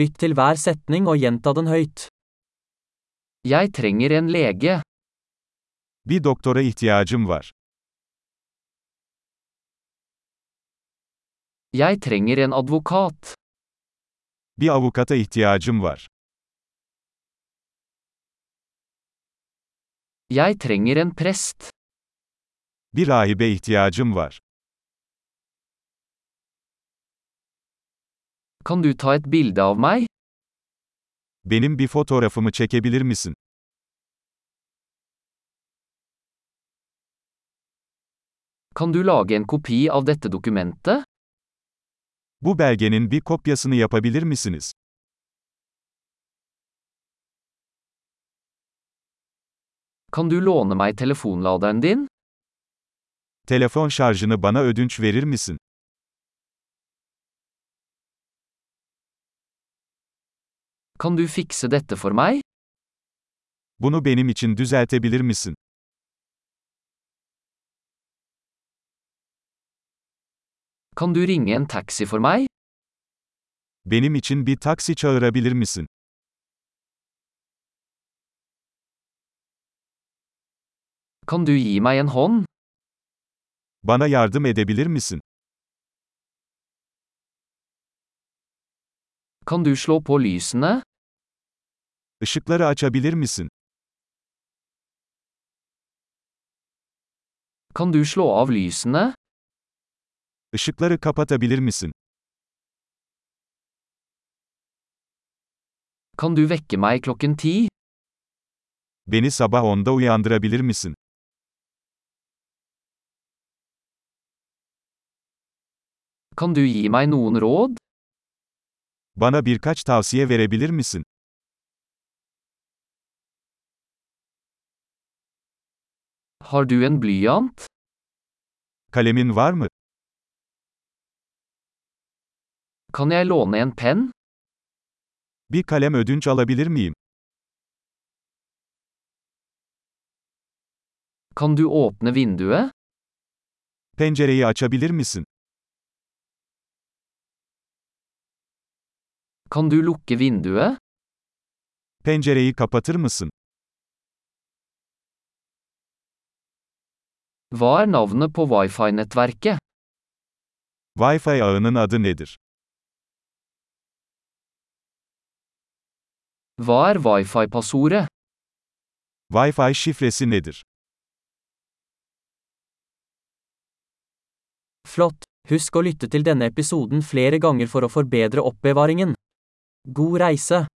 Lytt til hver setning og gjenta den høyt. Jeg trenger en lege. Bir doktora ihtiyacım var. Jeg trenger en advokat. Bir avukata ihtiyacım var. Jeg trenger en prest. Bir rahibe ihtiyacım var. Kan du ta et bilde av meg? Benim bir fotoğrafımı çekebilir misin? Kan du lage en kopi av dette dokumentet? Bu belgenin bir kopyasını yapabilir misiniz? Kan du låne meg telefonladeren din? Telefon şarjını bana ödünç verir misin? Kan du fikse dette for meg? Bunu benim için düzeltebilir misin? Kan du ringe en taxi for meg? Benim için bir taksi çağırabilir misin? Kan du gi meg en hånd? Bana yardım edebilir misin? Kan du slå på lysene? Işıkları açabilir misin? Kan du slå av lysene? Işıkları kapatabilir misin? Kan du vekke meg klokken ti? Beni sabah 10'da uyandırabilir misin? Kan du gi meg noen råd? Bana birkaç tavsiye verebilir misin? Har du en blyant? Kalemin var mı? Kan jeg låne en penn? Bir kalem ödünç alabilir miyim? Kan du åpne vinduet? Pencereyi açabilir misin? Kan du lukke vinduet? Pencereyi kapatır mısın? Hva er navnet på wifi-nettverket? Wi-Fi ağının adı nedir? Hva er wifi-passordet? Wi-Fi şifresi nedir? Flott! Husk å lytte til denne episoden flere ganger for å forbedre oppbevaringen. God reise!